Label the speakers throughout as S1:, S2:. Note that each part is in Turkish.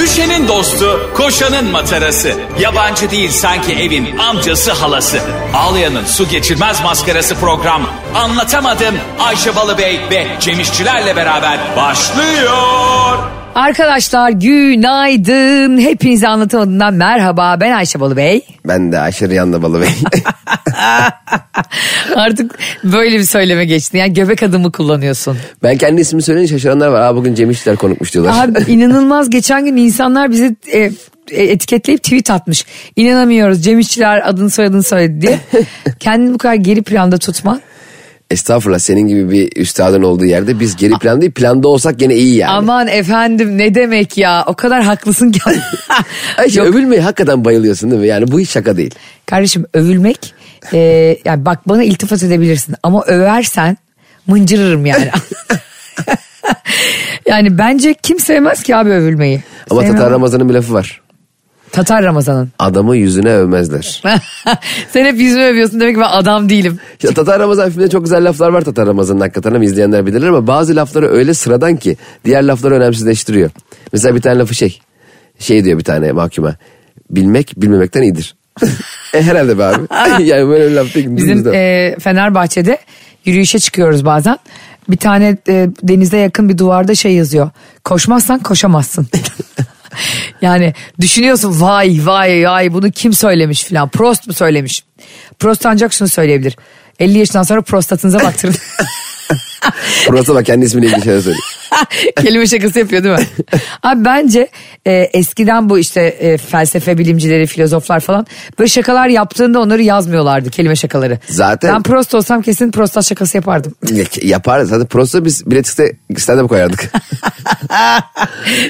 S1: Ayşe'nin dostu, koşanın matarası. Yabancı değil sanki evin amcası halası. Ağlayan'ın su geçirmez maskarası program. Anlatamadım Ayşe Balıbey ve Cemişçilerle beraber başlıyor.
S2: Arkadaşlar günaydın. Hepinize anlatamadığımdan merhaba. Ben Ayşe Balı Bey.
S3: Ben de Ayşe Riyan'la Balı Bey.
S2: Artık böyle bir söyleme geçtin. Yani göbek adımı kullanıyorsun.
S3: ben kendi ismimi söyleyince şaşıranlar var. Aa bugün Cem İşçiler konukmuş diyorlar.
S2: Abi inanılmaz geçen gün insanlar bizi e, e, etiketleyip tweet atmış. İnanamıyoruz Cem İşçiler adını soyadını söyledi diye. Kendini bu kadar geri planda tutma.
S3: Estağfurullah senin gibi bir üstadın olduğu yerde biz geri plan değil planda olsak gene iyi yani.
S2: Aman efendim ne demek ya o kadar haklısın ki.
S3: Ayşe
S2: Yok,
S3: övülmeye hakikaten bayılıyorsun değil mi? Yani bu hiç şaka değil.
S2: Kardeşim övülmek e, yani bak bana iltifat edebilirsin ama översen mıncırırım yani. yani bence kim sevmez ki abi övülmeyi.
S3: Ama
S2: Sevmem.
S3: Tatar Ramazan'ın bir lafı var.
S2: Tatar Ramazan'ın.
S3: Adamı yüzüne övmezler.
S2: Sen hep yüzümü övüyorsun demek ki ben adam değilim.
S3: Ya Tatar Ramazan filminde çok güzel laflar var Tatar Ramazan'ın hakikaten ama izleyenler bilirler ama bazı lafları öyle sıradan ki diğer lafları önemsizleştiriyor. Mesela bir tane lafı şey. Şey diyor bir tane mahkuma. Bilmek bilmemekten iyidir. e herhalde be abi. yani böyle bir laf değil.
S2: Bizim
S3: Dümdüz de-
S2: e, Fenerbahçe'de yürüyüşe çıkıyoruz bazen. Bir tane e, denize yakın bir duvarda şey yazıyor. Koşmazsan koşamazsın. yani düşünüyorsun vay vay vay bunu kim söylemiş filan. Prost mu söylemiş? Prost ancak şunu söyleyebilir. 50 yaşından sonra prostatınıza baktırın.
S3: Burası bak kendi ismiyle ilgili şeyler söylüyor.
S2: Kelime şakası yapıyor değil mi? Abi bence e, eskiden bu işte e, felsefe bilimcileri, filozoflar falan böyle şakalar yaptığında onları yazmıyorlardı kelime şakaları.
S3: Zaten-
S2: Ben prost olsam kesin prostat şakası yapardım.
S3: Ya- Yapar zaten prosta biz biletikte stand-up koyardık.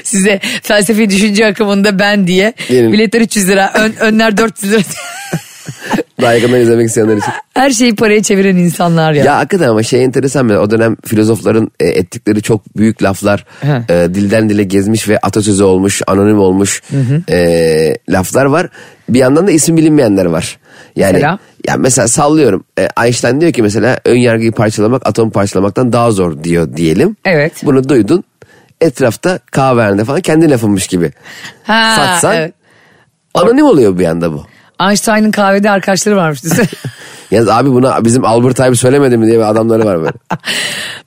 S2: Size felsefi düşünce akımında ben diye
S3: Gelin.
S2: biletler 300 lira, ön, önler 400 lira.
S3: Daha yakından izlemek isteyenler için.
S2: Her şeyi paraya çeviren insanlar ya.
S3: Ya hakikaten ama şey enteresan bir o dönem filozofların e, ettikleri çok büyük laflar
S2: Hı.
S3: e, dilden dile gezmiş ve atasözü olmuş, anonim olmuş e, laflar var. Bir yandan da isim bilinmeyenler var. Yani
S2: Mesela?
S3: ya mesela sallıyorum. E, Einstein diyor ki mesela ön yargıyı parçalamak atom parçalamaktan daha zor diyor diyelim.
S2: Evet.
S3: Bunu duydun. Etrafta kahvehanede falan kendi lafınmış gibi.
S2: Ha,
S3: Satsan
S2: evet.
S3: anonim oluyor bir anda bu.
S2: Einstein'ın kahvede arkadaşları varmış.
S3: Yalnız abi buna bizim Albert abi söylemedi mi diye bir adamları var böyle.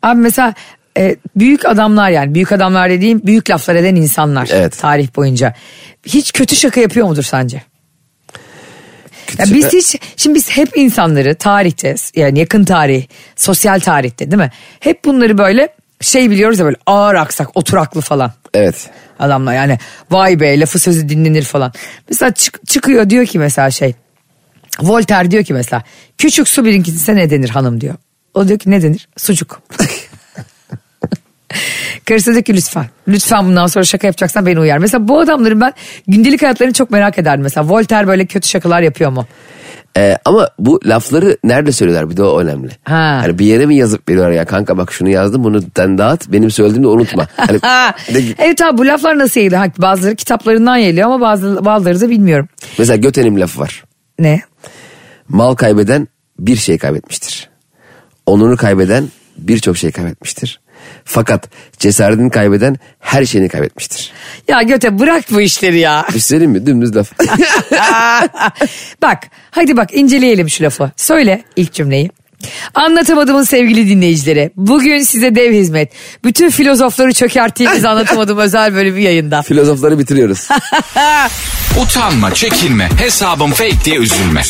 S2: Abi mesela e, büyük adamlar yani büyük adamlar dediğim büyük laflar eden insanlar
S3: Evet.
S2: tarih boyunca. Hiç kötü şaka yapıyor mudur sence? Ya biz hiç şimdi biz hep insanları tarihte yani yakın tarih, sosyal tarihte değil mi? Hep bunları böyle şey biliyoruz ya böyle ağır aksak, oturaklı falan
S3: Evet.
S2: adamlar yani vay be lafı sözü dinlenir falan. Mesela çık- çıkıyor diyor ki mesela şey Voltaire diyor ki mesela küçük su birinkisi ne denir hanım diyor. O diyor ki ne denir? Sucuk. Karısı diyor ki lütfen. Lütfen bundan sonra şaka yapacaksan beni uyar. Mesela bu adamların ben gündelik hayatlarını çok merak ederdim. Mesela Voltaire böyle kötü şakalar yapıyor mu?
S3: Ee, ama bu lafları nerede söylüyorlar bir de o önemli.
S2: Ha.
S3: Hani bir yere mi yazıp veriyorlar ya kanka bak şunu yazdım bunu den dağıt benim söylediğimi unutma. Hani de-
S2: evet abi bu laflar nasıl yayılıyor? Ha, Bazıları kitaplarından yayılıyor ama bazı, bazıları da bilmiyorum.
S3: mesela Göte'nin lafı var.
S2: Ne?
S3: Mal kaybeden bir şey kaybetmiştir. Onunu kaybeden birçok şey kaybetmiştir. Fakat cesaretini kaybeden her şeyini kaybetmiştir.
S2: Ya Göte bırak bu işleri ya.
S3: Bir şey söyleyeyim mi? Dümdüz laf.
S2: bak hadi bak inceleyelim şu lafı. Söyle ilk cümleyi. Anlatamadığımın sevgili dinleyicileri. Bugün size dev hizmet. Bütün filozofları çökerttiğimiz anlatamadığım özel bölümü yayında.
S3: Filozofları bitiriyoruz.
S1: Utanma, çekinme, hesabım fake diye üzülme.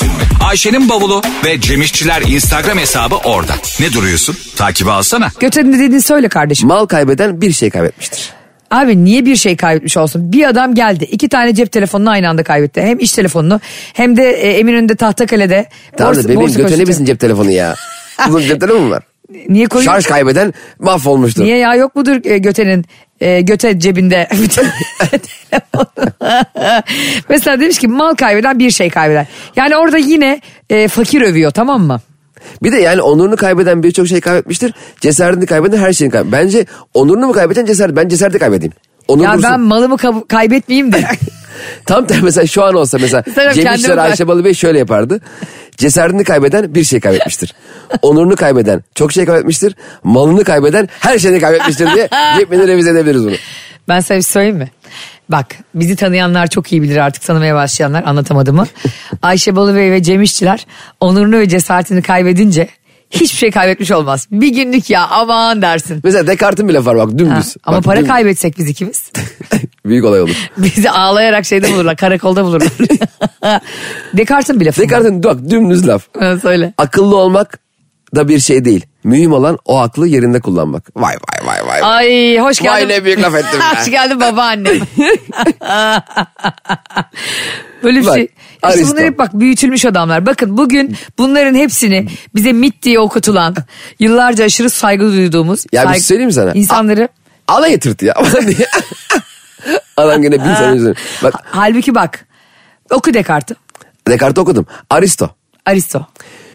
S1: Ayşe'nin bavulu ve Cemişçiler Instagram hesabı orada. Ne duruyorsun? Takibi alsana.
S2: Göte'nin ne dediğini söyle kardeşim.
S3: Mal kaybeden bir şey kaybetmiştir.
S2: Abi niye bir şey kaybetmiş olsun? Bir adam geldi. iki tane cep telefonunu aynı anda kaybetti. Hem iş telefonunu hem de e, Eminönü'nde Tahtakale'de.
S3: Tamam da
S2: borsa-
S3: bebeğim
S2: borsa
S3: götüne
S2: koşucu.
S3: bizim cep telefonu ya. Bunun cep telefonu mu var?
S2: Niye koyuyor?
S3: Şarj kaybeden mahvolmuştu.
S2: Niye ya yok mudur e, götenin e, göte cebinde bir tane telefon? Mesela demiş ki mal kaybeden bir şey kaybeder. Yani orada yine e, fakir övüyor tamam mı?
S3: Bir de yani onurunu kaybeden birçok şey kaybetmiştir. Cesaretini kaybeden her şeyini kaybeder. Bence onurunu mu kaybeden cesaret? Ben cesareti kaybedeyim. Onur
S2: Ya
S3: dursun.
S2: ben malımı kab- kaybetmeyeyim de.
S3: Tam tersi mesela şu an olsa mesela
S2: Sanırım
S3: Cem
S2: kendimi
S3: İşler
S2: ben-
S3: Ayşe Balı Bey şöyle yapardı. Cesaretini kaybeden bir şey kaybetmiştir. onurunu kaybeden çok şey kaybetmiştir. Malını kaybeden her şeyini kaybetmiştir diye cep revize edebiliriz bunu.
S2: ben sana bir şey söyleyeyim mi? Bak bizi tanıyanlar çok iyi bilir artık tanımaya başlayanlar anlatamadığımı. Ayşe Balıbey ve Cem İşçiler onurunu ve cesaretini kaybedince hiçbir şey kaybetmiş olmaz. Bir günlük ya aman dersin.
S3: Mesela Descartes'in bir lafı var bak
S2: Ha,
S3: dümdüz.
S2: ama
S3: Bak,
S2: para
S3: dümdüz.
S2: kaybetsek biz ikimiz.
S3: Büyük olay olur.
S2: Bizi ağlayarak şeyde bulurlar karakolda bulurlar. Descartes'in bir lafı var.
S3: Descartes'in bak dümdüz laf.
S2: Ha, Söyle.
S3: Akıllı olmak da bir şey değil. Mühim olan o aklı yerinde kullanmak. Vay vay vay vay.
S2: Ay hoş
S3: Vay
S2: geldin.
S3: ne büyük laf ettim ya.
S2: hoş geldin babaannem. Böyle bir
S3: Bak,
S2: şey. İşte
S3: Aristo.
S2: bunlar hep bak büyütülmüş adamlar. Bakın bugün bunların hepsini bize mit diye okutulan, yıllarca aşırı saygı duyduğumuz.
S3: Ya bir
S2: saygı-
S3: şey söyleyeyim mi sana?
S2: İnsanları.
S3: Alay yatırtı ya. Adam gene bin sene üzerine. Bak
S2: Halbuki bak. Oku Descartes'i.
S3: Descartes okudum. Aristo.
S2: Aristo.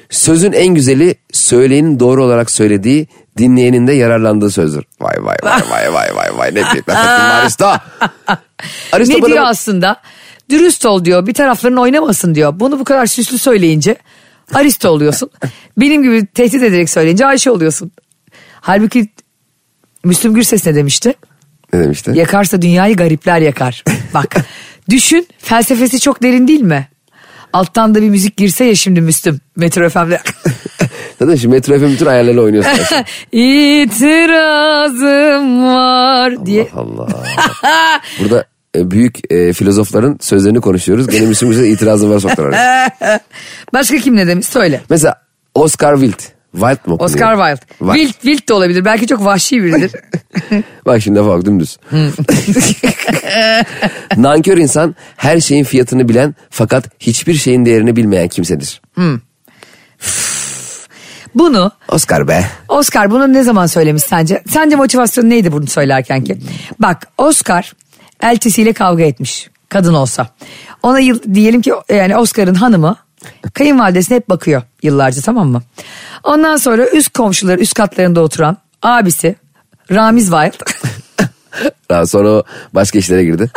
S3: Sözün en güzeli söyleyenin doğru olarak söylediği dinleyenin de yararlandığı sözdür. Vay vay vay vay vay vay vay ne büyük laf ettim Aristo. Aristo
S2: ne
S3: bana-
S2: diyor aslında? Dürüst ol diyor. Bir tarafların oynamasın diyor. Bunu bu kadar süslü söyleyince Aristo oluyorsun. Benim gibi tehdit ederek söyleyince Ayşe oluyorsun. Halbuki Müslüm Gürses ne demişti?
S3: Ne demişti?
S2: Yakarsa dünyayı garipler yakar. Bak düşün felsefesi çok derin değil mi? Alttan da bir müzik girse ya şimdi Müslüm. Metro FM'de.
S3: Zaten şimdi Metro FM bütün ayarlarıyla oynuyorsun.
S2: İtirazım var diye.
S3: Allah. Burada e, büyük e, filozofların sözlerini konuşuyoruz. Gene Müslüm Gürses'e itirazım var soktular. araya.
S2: Başka kim ne demiş söyle.
S3: Mesela Oscar Wilde. Wilde mi okunuyor?
S2: Oscar Wilde. Wild, Wild de olabilir. Belki çok vahşi biridir.
S3: Bak şimdi lafa bak dümdüz.
S2: Hmm.
S3: Nankör insan her şeyin fiyatını bilen fakat hiçbir şeyin değerini bilmeyen kimsedir.
S2: Bunu
S3: Oscar be.
S2: Oscar bunu ne zaman söylemiş sence? Sence motivasyonu neydi bunu söylerken ki? Bak Oscar elçisiyle kavga etmiş kadın olsa. Ona yıl, diyelim ki yani Oscar'ın hanımı kayınvalidesine hep bakıyor yıllarca tamam mı? Ondan sonra üst komşuları üst katlarında oturan abisi Ramiz Wild.
S3: Daha sonra o başka işlere girdi.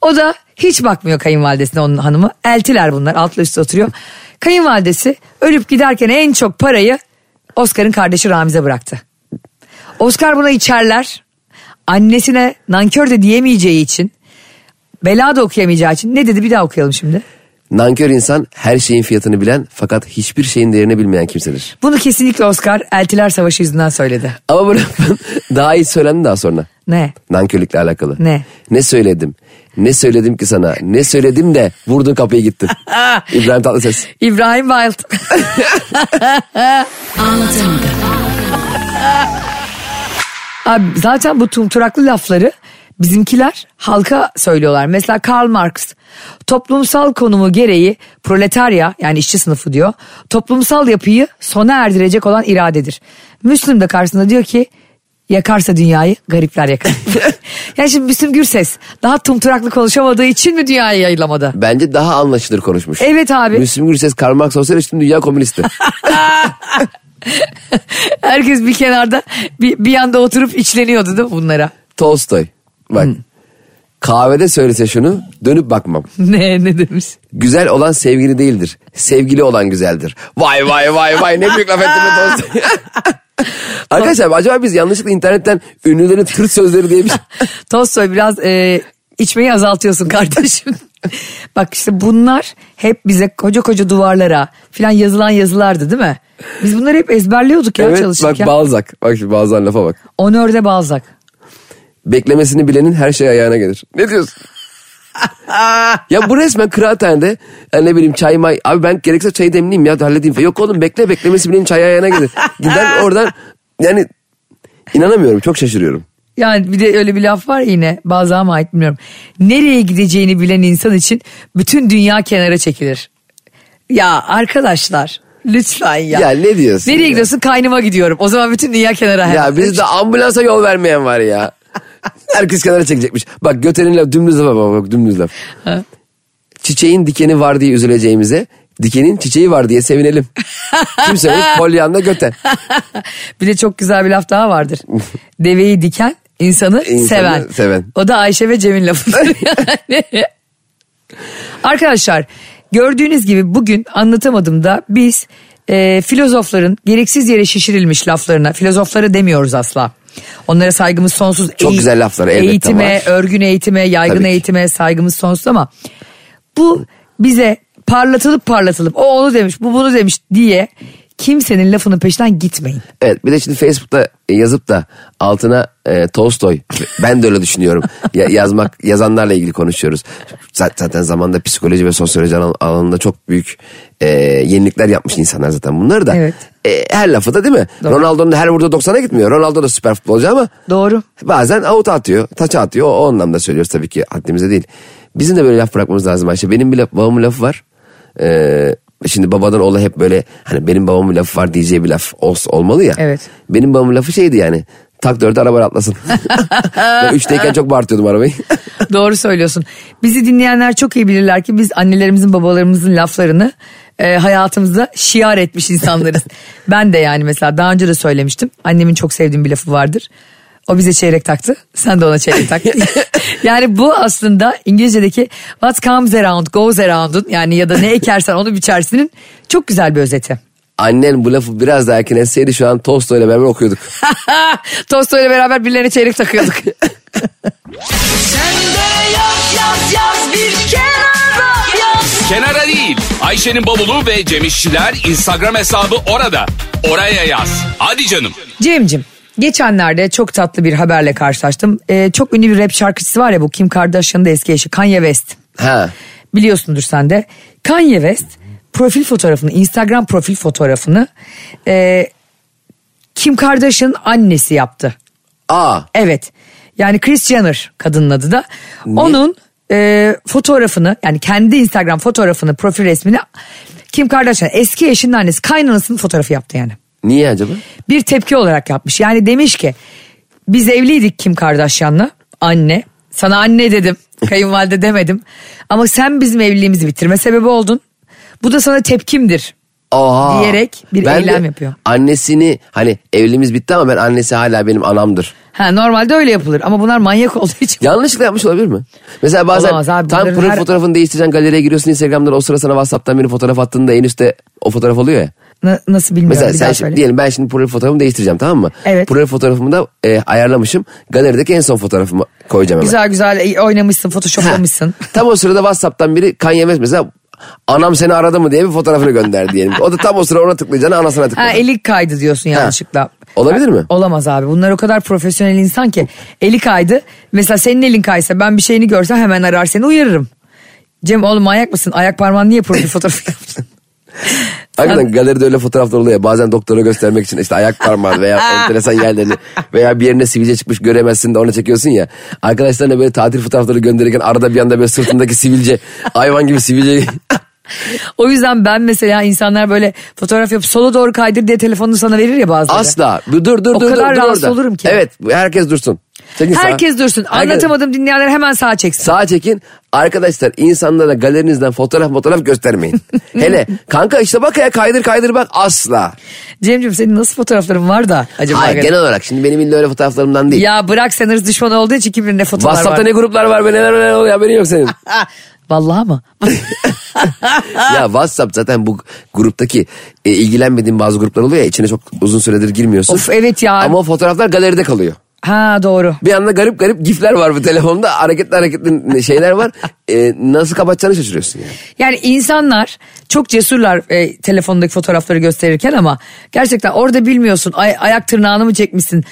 S2: O da hiç bakmıyor kayınvalidesine onun hanımı. Eltiler bunlar altlı üstte oturuyor. Kayınvalidesi ölüp giderken en çok parayı Oscar'ın kardeşi Ramiz'e bıraktı. Oscar buna içerler. Annesine nankör de diyemeyeceği için bela da okuyamayacağı için ne dedi bir daha okuyalım şimdi.
S3: Nankör insan her şeyin fiyatını bilen fakat hiçbir şeyin değerini bilmeyen kimsedir.
S2: Bunu kesinlikle Oscar Eltiler Savaşı yüzünden söyledi.
S3: Ama bu lafın daha iyi söylendi daha sonra.
S2: Ne?
S3: Nankörlükle alakalı.
S2: Ne?
S3: Ne söyledim? Ne söyledim ki sana? Ne söyledim de vurdun kapıyı gittin. İbrahim Tatlıses.
S2: İbrahim Wild. Abi zaten bu tumturaklı lafları bizimkiler halka söylüyorlar. Mesela Karl Marx toplumsal konumu gereği proletarya yani işçi sınıfı diyor. Toplumsal yapıyı sona erdirecek olan iradedir. Müslüm de karşısında diyor ki yakarsa dünyayı garipler yakar. yani şimdi Müslüm Gürses daha tumturaklı konuşamadığı için mi dünyayı yayılamadı?
S3: Bence daha anlaşılır konuşmuş.
S2: Evet abi.
S3: Müslüm Gürses, Karl Marx olsaydı şimdi dünya komünisti.
S2: Herkes bir kenarda bir, bir yanda oturup içleniyordu değil mi bunlara?
S3: Tolstoy. Bak. Kahvede söylese şunu dönüp bakmam.
S2: Ne ne demiş?
S3: Güzel olan sevgili değildir. Sevgili olan güzeldir. Vay vay vay vay ne büyük laf ettim be Tolstoy. Arkadaşlar acaba biz yanlışlıkla internetten ünlülerin tırt sözleri diye bir
S2: Tolstoy biraz e, içmeyi azaltıyorsun kardeşim. Bak işte bunlar hep bize koca koca duvarlara filan yazılan yazılardı değil mi? Biz bunları hep ezberliyorduk ya
S3: Evet bak
S2: çalışırken.
S3: Balzac. Bak şu Balzac'ın lafa bak.
S2: Onörde Balzac.
S3: Beklemesini bilenin her şey ayağına gelir. Ne diyorsun? ya bu resmen kıraathanede yani ne bileyim çay may. Abi ben gerekirse çayı demleyeyim ya halledeyim. falan. Yok oğlum bekle beklemesi bilenin çay ayağına gelir. Giden oradan yani inanamıyorum çok şaşırıyorum.
S2: Yani bir de öyle bir laf var ya yine Balzac'a mı ait bilmiyorum. Nereye gideceğini bilen insan için bütün dünya kenara çekilir. Ya arkadaşlar lütfen ya.
S3: Ya ne diyorsun
S2: Nereye
S3: ya?
S2: gidiyorsun? Kaynıma gidiyorum. O zaman bütün dünya kenara
S3: Ya
S2: herhalde.
S3: bizde ambulansa yol vermeyen var ya. Herkes kenara çekecekmiş. Bak götenin laf dümdüz lafa bak, bak dümdüz laf.
S2: Ha.
S3: Çiçeğin dikeni var diye üzüleceğimize dikenin çiçeği var diye sevinelim. Kimse yok polyanda göten.
S2: Bir de çok güzel bir laf daha vardır. Deveyi diken, insanı,
S3: İnsanı
S2: seven.
S3: seven.
S2: O da Ayşe ve Cem'in lafıdır yani. Arkadaşlar gördüğünüz gibi bugün anlatamadım da biz e, filozofların gereksiz yere şişirilmiş laflarına, filozofları demiyoruz asla. Onlara saygımız sonsuz.
S3: Çok
S2: Eği-
S3: güzel laflar elbette
S2: Eğitime,
S3: var.
S2: örgün eğitime, yaygın
S3: Tabii ki.
S2: eğitime saygımız sonsuz ama bu bize parlatılıp parlatılıp o onu demiş, bu bunu demiş diye kimsenin lafının peşinden gitmeyin.
S3: Evet bir de şimdi Facebook'ta yazıp da altına e, Tolstoy ben de öyle düşünüyorum Ya- yazmak yazanlarla ilgili konuşuyoruz. Zaten, zaten zamanda psikoloji ve sosyoloji alan- alanında çok büyük e, yenilikler yapmış insanlar zaten bunları da.
S2: Evet.
S3: E, her lafı da değil mi?
S2: Doğru.
S3: Ronaldo'nun her vurduğu 90'a gitmiyor. Ronaldo da süper futbolcu ama
S2: Doğru.
S3: Bazen avut atıyor, taça atıyor. O, o anlamda söylüyoruz tabii ki haddimize değil. Bizim de böyle laf bırakmamız lazım Ayşe. Benim bir laf, babamın lafı var. Ee, şimdi babadan oğla hep böyle hani benim babamın lafı var diyeceği bir laf ol- olmalı ya.
S2: Evet.
S3: Benim babamın lafı şeydi yani. Tak dörde araba atlasın. ben üçteyken çok bağırtıyordum arabayı.
S2: Doğru söylüyorsun. Bizi dinleyenler çok iyi bilirler ki biz annelerimizin babalarımızın laflarını e, hayatımızda şiar etmiş insanlarız. ben de yani mesela daha önce de söylemiştim. Annemin çok sevdiğim bir lafı vardır. O bize çeyrek taktı. Sen de ona çeyrek tak. yani bu aslında İngilizce'deki what comes around goes around'un yani ya da ne ekersen onu biçersinin çok güzel bir özeti.
S3: Annen bu lafı biraz daha erken etseydi şu an Tolstoy'la beraber okuyorduk.
S2: Tostoyla beraber birilerine çeyrek takıyorduk.
S1: Kenara değil. Ayşe'nin bavulu ve Cemişçiler Instagram hesabı orada. Oraya yaz. Hadi canım.
S2: Cem'cim geçenlerde çok tatlı bir haberle karşılaştım. Ee, çok ünlü bir rap şarkıcısı var ya bu Kim Kardashian'ın da eski eşi Kanye West.
S3: Ha.
S2: Biliyorsundur sen de. Kanye West profil fotoğrafını, Instagram profil fotoğrafını e, Kim Kardashian'ın annesi yaptı.
S3: Aa.
S2: Evet. Yani Kris Jenner kadının adı da. Onun e, fotoğrafını yani kendi Instagram fotoğrafını, profil resmini Kim Kardashian eski eşinin annesi kaynanasının fotoğrafı yaptı yani
S3: Niye acaba?
S2: bir tepki olarak yapmış. Yani demiş ki biz evliydik Kim Kardashian'la anne. Sana anne dedim kayınvalide demedim. Ama sen bizim evliliğimizi bitirme sebebi oldun. Bu da sana tepkimdir.
S3: Oha.
S2: Diyerek bir
S3: Ben de
S2: eylem yapıyor.
S3: Annesini hani evliliğimiz bitti ama ben annesi hala benim anamdır.
S2: Ha normalde öyle yapılır ama bunlar manyak olduğu için.
S3: Yanlışlıkla yapmış olabilir mi? Mesela bazen
S2: Olamaz abi,
S3: tam
S2: bunların
S3: profil
S2: her-
S3: fotoğrafını değiştireceksin galeriye giriyorsun Instagram'dan o sıra sana Whatsapp'tan benim fotoğraf attığında en üstte o fotoğraf oluyor ya.
S2: Na- nasıl bilmiyorum.
S3: Mesela
S2: bir
S3: sen
S2: daha
S3: şimdi,
S2: söyle.
S3: diyelim ben şimdi profil fotoğrafımı değiştireceğim tamam mı?
S2: Evet.
S3: Profil fotoğrafımı da e, ayarlamışım. Galerideki en son fotoğrafımı koyacağım hemen.
S2: Güzel güzel e, oynamışsın photoshoplamışsın.
S3: Tam o sırada Whatsapp'tan biri kan yemez mesela anam seni aradı mı diye bir fotoğrafını gönder diyelim. O da tam o sıra ona tıklayacağına anasına
S2: Ha
S3: tıklayacak.
S2: eli kaydı diyorsun yanlışlıkla.
S3: Olabilir mi?
S2: Olamaz abi. Bunlar o kadar profesyonel insan ki. Eli kaydı. Mesela senin elin kaysa ben bir şeyini görsem hemen arar seni uyarırım. Cem oğlum manyak mısın? Ayak parmağın niye profil fotoğrafı yaptın?
S3: Hakikaten galeride öyle fotoğraflar oluyor. Bazen doktora göstermek için işte ayak parmağı veya
S2: Ah.
S3: enteresan yerlerini veya bir yerine sivilce çıkmış göremezsin de onu çekiyorsun ya. Arkadaşlarına böyle tatil fotoğrafları gönderirken arada bir anda böyle sırtındaki sivilce hayvan gibi sivilce.
S2: o yüzden ben mesela insanlar böyle fotoğraf yapıp sola doğru kaydır diye telefonunu sana verir ya bazıları.
S3: Asla. Dur dur dur.
S2: O
S3: dur,
S2: kadar
S3: dur,
S2: rahatsız
S3: orada.
S2: olurum ki.
S3: Evet herkes dursun. Çekin sağa.
S2: Herkes dursun.
S3: Herkes-
S2: Anlatamadım dinleyenler hemen sağa çeksin.
S3: Sağa çekin. Arkadaşlar insanlara galerinizden fotoğraf fotoğraf göstermeyin. Hele kanka işte bak ya kaydır kaydır bak asla.
S2: Cemciğim senin nasıl fotoğrafların var da acaba?
S3: Hayır genel olarak şimdi benim illa öyle fotoğraflarımdan değil.
S2: Ya bırak sen hırs düşmanı olduğu için kim bilir ne fotoğraflar
S3: Whatsapp'ta
S2: var. Ah,
S3: ne gruplar var be neler neler oluyor haberin yok senin.
S2: Vallahi mı?
S3: ya WhatsApp zaten bu gruptaki e, ilgilenmediğin bazı gruplar oluyor ya içine çok uzun süredir girmiyorsun.
S2: Of, e, evet ya.
S3: Ama o fotoğraflar galeride kalıyor.
S2: ha doğru.
S3: Bir anda garip garip gifler var bu telefonda hareketli hareketli şeyler var. E, nasıl kapatacağını şaşırıyorsun yani.
S2: Yani insanlar çok cesurlar e, telefondaki fotoğrafları gösterirken ama gerçekten orada bilmiyorsun ay- ayak tırnağını mı çekmişsin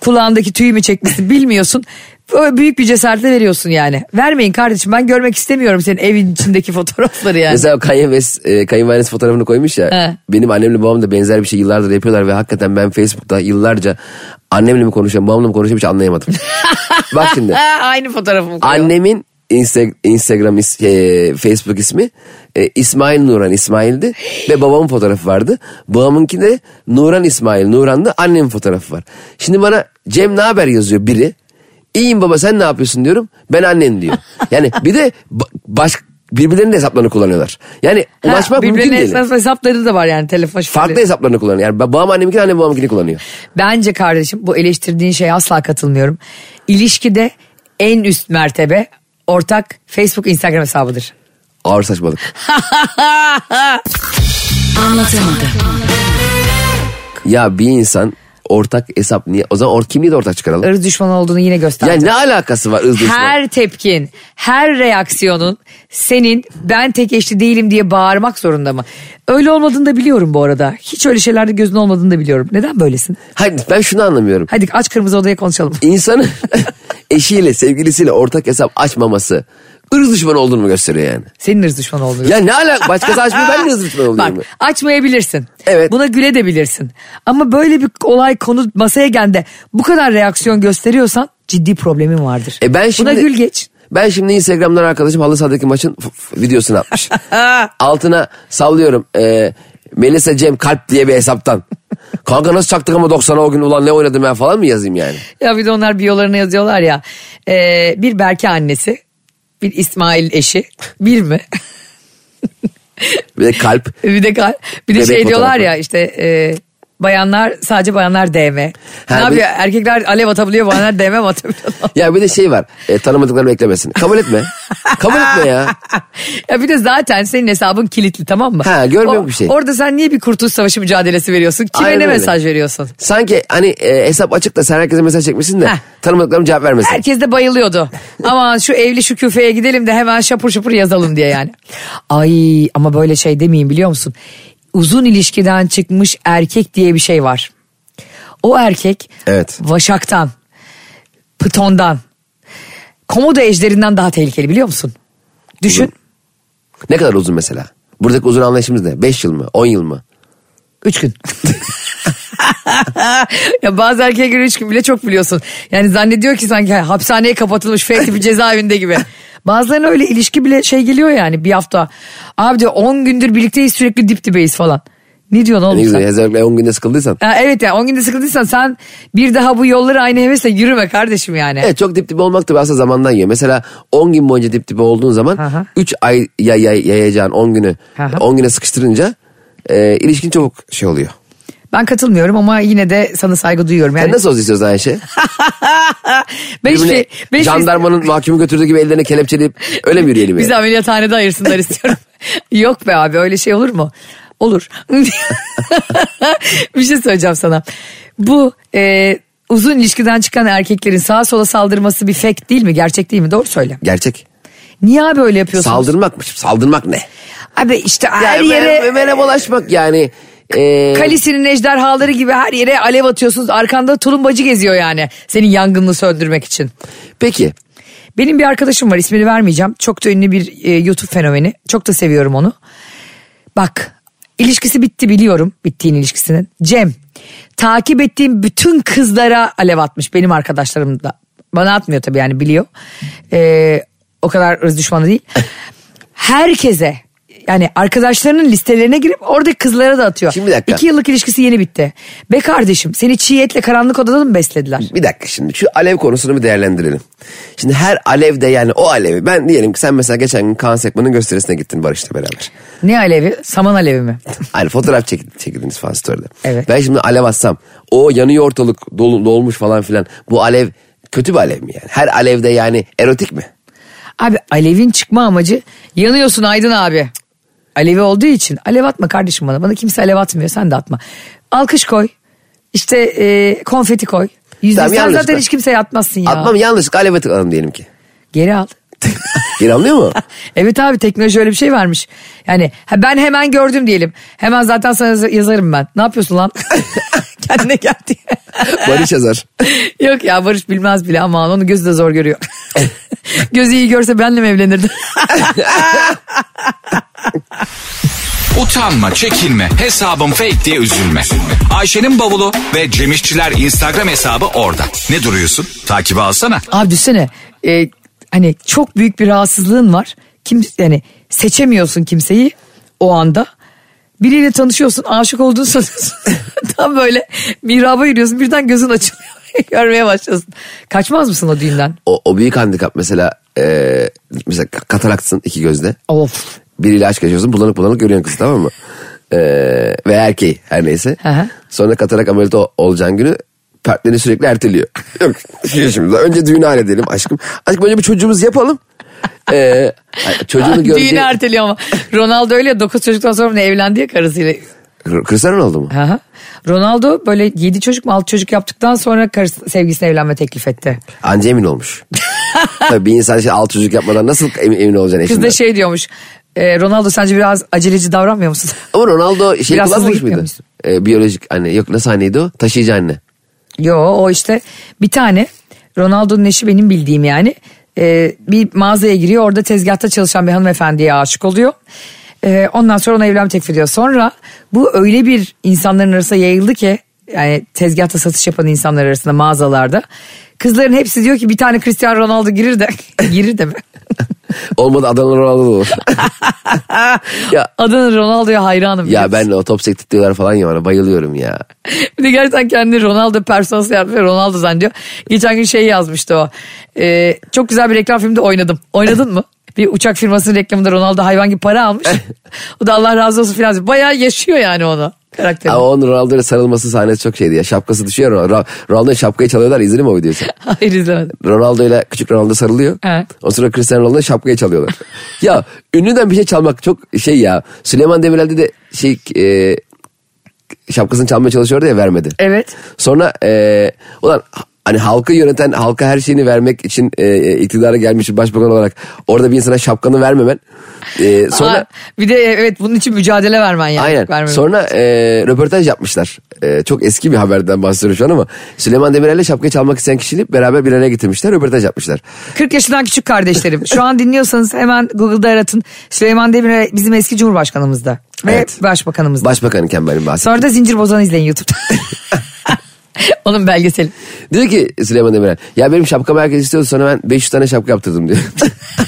S2: kulağındaki tüyü mü çekmişsin bilmiyorsun. Böyle büyük bir cesaretle veriyorsun yani. Vermeyin kardeşim ben görmek istemiyorum senin evin içindeki fotoğrafları yani.
S3: Mesela Kanye West e, kayınvalidesi fotoğrafını koymuş ya.
S2: He.
S3: Benim annemle babam da benzer bir şey yıllardır yapıyorlar ve hakikaten ben Facebook'ta yıllarca annemle mi konuşuyorum babamla mı konuşuyorum hiç anlayamadım. Bak şimdi
S2: Ha, aynı fotoğrafımı koyuyor.
S3: annemin Insta- Instagram is- e, Facebook ismi e, İsmail Nuran İsmail'di ve babamın fotoğrafı vardı. Babamınki de Nuran İsmail Nuran'dı annemin fotoğrafı var. Şimdi bana Cem ne haber yazıyor biri. İyiyim baba sen ne yapıyorsun diyorum. Ben annen diyor. Yani bir de ba- baş birbirlerinin de hesaplarını kullanıyorlar. Yani
S2: Ha,
S3: ulaşmak mümkün
S2: birbirine
S3: değil.
S2: esas hesapları da var yani telefon şifreleri.
S3: Farklı hesaplarını kullanıyor. Yani babam anneminkini annem babamınkini kullanıyor.
S2: Bence kardeşim bu eleştirdiğin şeye asla katılmıyorum. İlişkide en üst mertebe ortak Facebook Instagram hesabıdır.
S3: Ağır saçmalık.
S2: Anlatamadım.
S3: Ya bir insan ortak hesap niye? O zaman or, kimliği de ortak çıkaralım.
S2: Irz düşmanı olduğunu yine gösterdi.
S3: Ya ne alakası var ırz düşmanı?
S2: her tepkin, her reaksiyonun senin ben tek eşli değilim diye bağırmak zorunda mı? Öyle olmadığını da biliyorum bu arada. Hiç öyle şeylerde gözün olmadığını da biliyorum. Neden böylesin?
S3: Hayır, ben şunu anlamıyorum.
S2: Hadi aç kırmızı odaya konuşalım.
S3: İnsanın eşiyle sevgilisiyle ortak hesap açmaması ırz düşmanı olduğunu mu gösteriyor yani?
S2: Senin ırz düşmanı olduğunu.
S3: Ya ne alaka? Başkası açmıyor ben de ırz düşmanı oluyorum.
S2: Bak açmayabilirsin.
S3: Evet.
S2: Buna güle de bilirsin. Ama böyle bir olay konu masaya geldi. Bu kadar reaksiyon gösteriyorsan ciddi problemin vardır.
S3: E ben şimdi-
S2: Buna gül geç.
S3: Ben şimdi Instagram'dan arkadaşım halı sahadaki maçın f- f- videosunu atmış. Altına sallıyorum. E, Melisa Cem Kalp diye bir hesaptan. Kanka nasıl çaktık ama 90'a o gün ulan ne oynadım ben falan mı yazayım yani?
S2: Ya bir de onlar biyolarına yazıyorlar ya. Ee, bir Berke annesi, bir İsmail eşi, bir mi?
S3: Bir de kalp.
S2: bir de kal- bir de
S3: Bebek
S2: şey diyorlar
S3: fotoğrafı.
S2: ya işte e, bayanlar sadece bayanlar DM. ne
S3: Ha, bir-
S2: yapıyor? Erkekler alev atabiliyor, bayanlar DM mi atabiliyor?
S3: Ya bir de şey var. E, tanımadıklarını beklemesin. Kabul etme. Kabul etme ya.
S2: ya bir de zaten senin hesabın kilitli tamam mı?
S3: Ha, görmüyor bir şey.
S2: Orada sen niye bir kurtuluş savaşı mücadelesi veriyorsun? Kime
S3: Aynen
S2: ne
S3: öyle.
S2: mesaj veriyorsun?
S3: Sanki hani e, hesap açık da sen herkese mesaj çekmişsin de
S2: Heh.
S3: tanımadıklarım cevap vermesin.
S2: Herkes de bayılıyordu. Ama şu evli şu küfeye gidelim de hemen şapur şapur yazalım diye yani. Ay ama böyle şey demeyin biliyor musun? Uzun ilişkiden çıkmış erkek diye bir şey var. O erkek
S3: Evet.
S2: vaşaktan, pıtondan, komodo ejderinden daha tehlikeli biliyor musun? Düşün.
S3: Ne kadar uzun mesela? Buradaki uzun anlayışımız ne? 5 yıl mı? 10 yıl mı?
S2: Üç gün. ya bazı erkeğe göre üç gün bile çok biliyorsun. Yani zannediyor ki sanki hapishaneye kapatılmış fake bir cezaevinde gibi. Bazılarına öyle ilişki bile şey geliyor yani bir hafta. Abi diyor 10 gündür birlikteyiz sürekli dip dibeyiz falan. Ne diyorsun
S3: Ne
S2: oğlum
S3: güzel.
S2: sen?
S3: Hesap 10 günde sıkıldıysan.
S2: Ha, evet ya 10 günde sıkıldıysan sen bir daha bu yolları aynı hevesle yürüme kardeşim yani.
S3: Evet çok dip dibe olmak da aslında zamandan yiyor. Mesela 10 gün boyunca dip dibe olduğun zaman
S2: Aha.
S3: 3 ay yay, yay, yayacağın 10 günü
S2: Aha.
S3: 10 güne sıkıştırınca e, ilişkin çabuk şey oluyor.
S2: Ben katılmıyorum ama yine de sana saygı duyuyorum. Yani
S3: Sen nasıl oldu istiyorsun Ayşe?
S2: ben hiçbir- şey-
S3: Birbirine
S2: ben hiçbir-
S3: jandarmanın mahkumu götürdüğü gibi ellerine kelepçeleyip öyle mi yürüyelim yani?
S2: Bizi ameliyathanede ayırsınlar istiyorum. Yok be abi öyle şey olur mu? Olur. bir şey söyleyeceğim sana. Bu e, uzun ilişkiden çıkan erkeklerin sağa sola saldırması bir fake değil mi? Gerçek değil mi? Doğru söyle.
S3: Gerçek.
S2: Niye abi öyle yapıyorsunuz?
S3: Saldırmak mı? Saldırmak ne?
S2: Abi işte her
S3: Yani
S2: yere...
S3: mer- mer- bulaşmak yani. E,
S2: Kalisinin ejderhaları gibi her yere alev atıyorsunuz. Arkanda tulumbacı geziyor yani. Senin yangınını söndürmek için.
S3: peki.
S2: Benim bir arkadaşım var ismini vermeyeceğim. Çok da ünlü bir e, YouTube fenomeni. Çok da seviyorum onu. Bak ilişkisi bitti biliyorum. Bittiğin ilişkisinin. Cem takip ettiğim bütün kızlara alev atmış benim arkadaşlarım da. Bana atmıyor tabii yani biliyor. E, o kadar ırz düşmanı değil. Herkese yani arkadaşlarının listelerine girip oradaki kızlara da atıyor.
S3: Şimdi bir dakika.
S2: İki yıllık ilişkisi yeni bitti. Be kardeşim seni çiğ etle karanlık odada mı beslediler?
S3: Bir dakika şimdi şu alev konusunu bir değerlendirelim. Şimdi her alevde yani o alevi ben diyelim ki sen mesela geçen gün Kaan Sekman'ın gösterisine gittin Barış'la beraber.
S2: Ne alevi? Saman alevi mi?
S3: Hani fotoğraf çek, çekildiniz falan story'de.
S2: Evet.
S3: Ben şimdi alev atsam o yanıyor ortalık dolu, dolmuş falan filan bu alev kötü bir alev mi yani? Her alevde yani erotik mi?
S2: Abi alevin çıkma amacı yanıyorsun Aydın abi. Alevi olduğu için alev atma kardeşim bana. Bana kimse alev atmıyor sen de atma. Alkış koy. İşte e, konfeti koy. Yüzde
S3: Tamam,
S2: sen
S3: yanlış
S2: zaten
S3: bak.
S2: hiç kimseye atmazsın ya.
S3: Atmam yanlışlıkla aleve tıkladım diyelim ki.
S2: Geri al.
S3: Geri anlıyor mu?
S2: Evet abi teknoloji öyle bir şey vermiş. Yani ha, ben hemen gördüm diyelim. Hemen zaten sana yaz- yazarım ben. Ne yapıyorsun lan? Kendine gel diye.
S3: Barış yazar.
S2: Yok ya Barış bilmez bile aman onu gözü de zor görüyor. gözü iyi görse benle mi evlenirdi?
S1: Utanma, çekinme, hesabım fake diye üzülme. Ayşe'nin bavulu ve Cemişçiler Instagram hesabı orada. Ne duruyorsun? Takibi alsana.
S2: Abi düşünsene e, hani çok büyük bir rahatsızlığın var. Kim yani seçemiyorsun kimseyi o anda. Biriyle tanışıyorsun, aşık olduğunu sanıyorsun. Tam böyle mihraba yürüyorsun birden gözün açılıyor. Görmeye başlıyorsun. Kaçmaz mısın o düğünden?
S3: O, o büyük handikap mesela e, mesela kataraksın iki gözde.
S2: Of.
S3: biriyle aşk yaşıyorsun bulanık bulanık görüyorsun kızı tamam mı? Ee, ve erkeği her neyse.
S2: Hı hı.
S3: Sonra katarak ameliyatı ol- olacağın günü partneri sürekli erteliyor. Yok şimdi şimdi önce düğünü halledelim aşkım. Aşkım önce bir çocuğumuzu yapalım. Ee, ay, çocuğunu göreceği...
S2: Düğünü erteliyor ama. Ronaldo öyle ya, dokuz çocuktan sonra mı ne evlendi ya karısıyla.
S3: Cristiano Ronaldo mu?
S2: Aha. Ronaldo böyle 7 çocuk mu 6 çocuk yaptıktan sonra karısı, sevgilisine evlenme teklif etti.
S3: Anca emin olmuş. Tabii bir insan işte alt çocuk yapmadan nasıl emin, emin olacaksın
S2: Kız
S3: eşinden?
S2: da şey diyormuş. "E, Ronaldo sence biraz aceleci davranmıyor musun?
S3: Ama Ronaldo şey
S2: Biraz hızlı
S3: kullanmış
S2: gitmiyor
S3: mıydı?
S2: musun?
S3: Ee, biyolojik anne yok nasıl anneydi o? Taşıyıcı anne.
S2: Yo o işte bir tane Ronaldo'nun eşi benim bildiğim yani Ee, bir mağazaya giriyor orada tezgahta çalışan bir hanımefendiye aşık oluyor. Ee, ondan sonra ona evlenme teklif ediyor. Sonra bu öyle bir insanların arasında yayıldı ki yani tezgahta satış yapan insanlar arasında mağazalarda. Kızların hepsi diyor ki bir tane Cristiano Ronaldo girir de girir de mi?
S3: Olmadı Adana Ronaldo da olur. ya,
S2: Adana Ronaldo'ya hayranım.
S3: ya
S2: diyor.
S3: ben de o top sektik diyorlar falan ya bana bayılıyorum ya.
S2: Bir de gerçekten kendini Ronaldo personası yapıyor. Ronaldo zannediyor. Geçen gün şey yazmıştı o. Ee, çok güzel bir reklam filmde oynadım. Oynadın mı? Bir uçak firmasının reklamında Ronaldo hayvan gibi para almış. o da Allah razı olsun filan. diyor. Bayağı yaşıyor yani onu karakteri.
S3: Ama onun Ronaldo'ya sarılması sahnesi çok şeydi ya. Şapkası düşüyor. Ron- Ron- Ronaldo'ya şapkayı çalıyorlar izledin mi o videoyu sen?
S2: Hayır izlemedim.
S3: Ronaldo ile küçük Ronaldo sarılıyor.
S2: Evet.
S3: O sırada Cristiano Ronaldo şapkayı çalıyorlar. ya ünlüden bir şey çalmak çok şey ya. Süleyman Demirel'de de şey e, şapkasını çalmaya çalışıyordu ya vermedi.
S2: Evet.
S3: Sonra e, ulan hani halkı yöneten halka her şeyini vermek için e, e, iktidara gelmiş bir başbakan olarak orada bir insana şapkanı vermemen. E, sonra
S2: Aa, bir de evet bunun için mücadele vermen yani.
S3: Aynen.
S2: Vermemen.
S3: Sonra e, röportaj yapmışlar. E, çok eski bir haberden bahsediyorum şu an ama Süleyman Demirel'le şapkayı çalmak isteyen kişiyi beraber bir araya getirmişler. Röportaj yapmışlar.
S2: 40 yaşından küçük kardeşlerim. Şu an dinliyorsanız hemen Google'da aratın. Süleyman Demirel bizim eski cumhurbaşkanımızda. Ve
S3: Evet.
S2: başbakanımızda.
S3: Başbakan iken benim bahsettiğim.
S2: Sonra da Zincir Bozan'ı izleyin YouTube'da. Onun belgeseli.
S3: Diyor ki Süleyman Demirel ya benim şapkamı herkes istiyordu sonra ben 500 tane şapka yaptırdım diyor.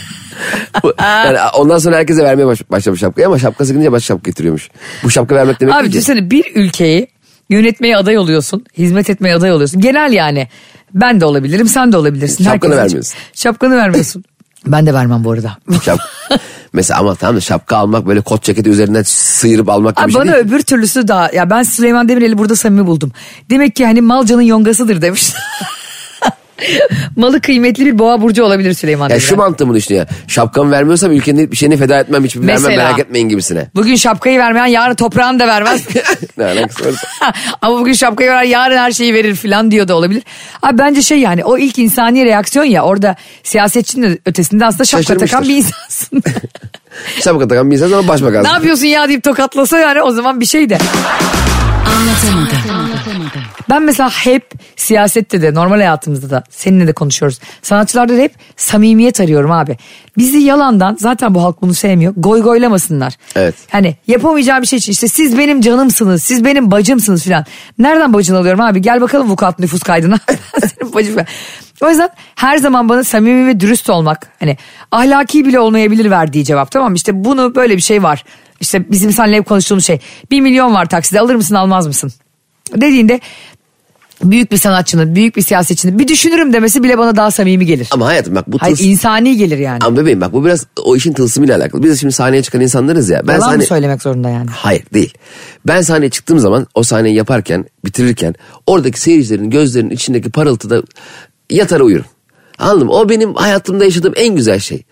S3: Bu- yani ondan sonra herkese vermeye baş- başlamış şapkayı ama şapka sıkınca başka şapka getiriyormuş. Bu şapka vermek demek
S2: Abi
S3: değil ki.
S2: düşünsene bir ülkeyi yönetmeye aday oluyorsun. Hizmet etmeye aday oluyorsun. Genel yani. Ben de olabilirim sen de olabilirsin.
S3: Şapkanı
S2: Herkes-
S3: vermiyorsun.
S2: Şapkanı vermiyorsun. ben de vermem bu arada.
S3: Şap- Mesela ama tamam da şapka almak böyle kot ceketi üzerinden sıyırıp almak gibi
S2: Abi
S3: bir şey
S2: bana
S3: değil.
S2: öbür türlüsü daha ya ben Süleyman Demirel'i burada samimi buldum. Demek ki hani malcanın yongasıdır demiş. Malı kıymetli bir boğa burcu olabilir Süleyman
S3: Ya
S2: Demirel.
S3: şu mantığımı düşünüyor. Şapkamı vermiyorsam ülkenin hiçbir şeyini feda etmem. Hiçbir vermem
S2: Mesela.
S3: merak etmeyin gibisine.
S2: Bugün şapkayı vermeyen yarın toprağını da vermez.
S3: ne alakası varsa.
S2: Ama bugün şapkayı veren yarın her şeyi verir filan diyor da olabilir. Abi bence şey yani o ilk insani reaksiyon ya orada siyasetçinin de ötesinde aslında şapka takan
S3: Şaşırmıştır.
S2: bir insansın.
S3: Şapka takan bir insan ama başbakan.
S2: ne yapıyorsun ya deyip tokatlasa yani o zaman bir şey de. Ben mesela hep siyasette de normal hayatımızda da seninle de konuşuyoruz. Sanatçılarda da hep samimiyet arıyorum abi. Bizi yalandan zaten bu halk bunu sevmiyor. Goy goylamasınlar.
S3: Evet.
S2: Hani yapamayacağım bir şey için işte siz benim canımsınız, siz benim bacımsınız filan. Nereden bacını alıyorum abi? Gel bakalım vukuat nüfus kaydına. Ben Senin bacın ben. O yüzden her zaman bana samimi ve dürüst olmak hani ahlaki bile olmayabilir verdiği cevap tamam mı? İşte bunu böyle bir şey var. İşte bizim seninle hep konuştuğumuz şey. Bir milyon var takside alır mısın almaz mısın? Dediğinde büyük bir sanatçının, büyük bir siyasetçinin bir düşünürüm demesi bile bana daha samimi gelir.
S3: Ama hayatım bak bu
S2: Hayır
S3: tılsım-
S2: insani gelir yani.
S3: Ama bebeğim bak bu biraz o işin tılsımıyla alakalı. Biz de şimdi sahneye çıkan insanlarız ya. Ben hani-
S2: Yalan mı
S3: sahne-
S2: söylemek zorunda yani?
S3: Hayır değil. Ben sahneye çıktığım zaman o sahneyi yaparken bitirirken oradaki seyircilerin gözlerinin içindeki parıltıda yatara uyurum. Anladın mı? O benim hayatımda yaşadığım en güzel şey.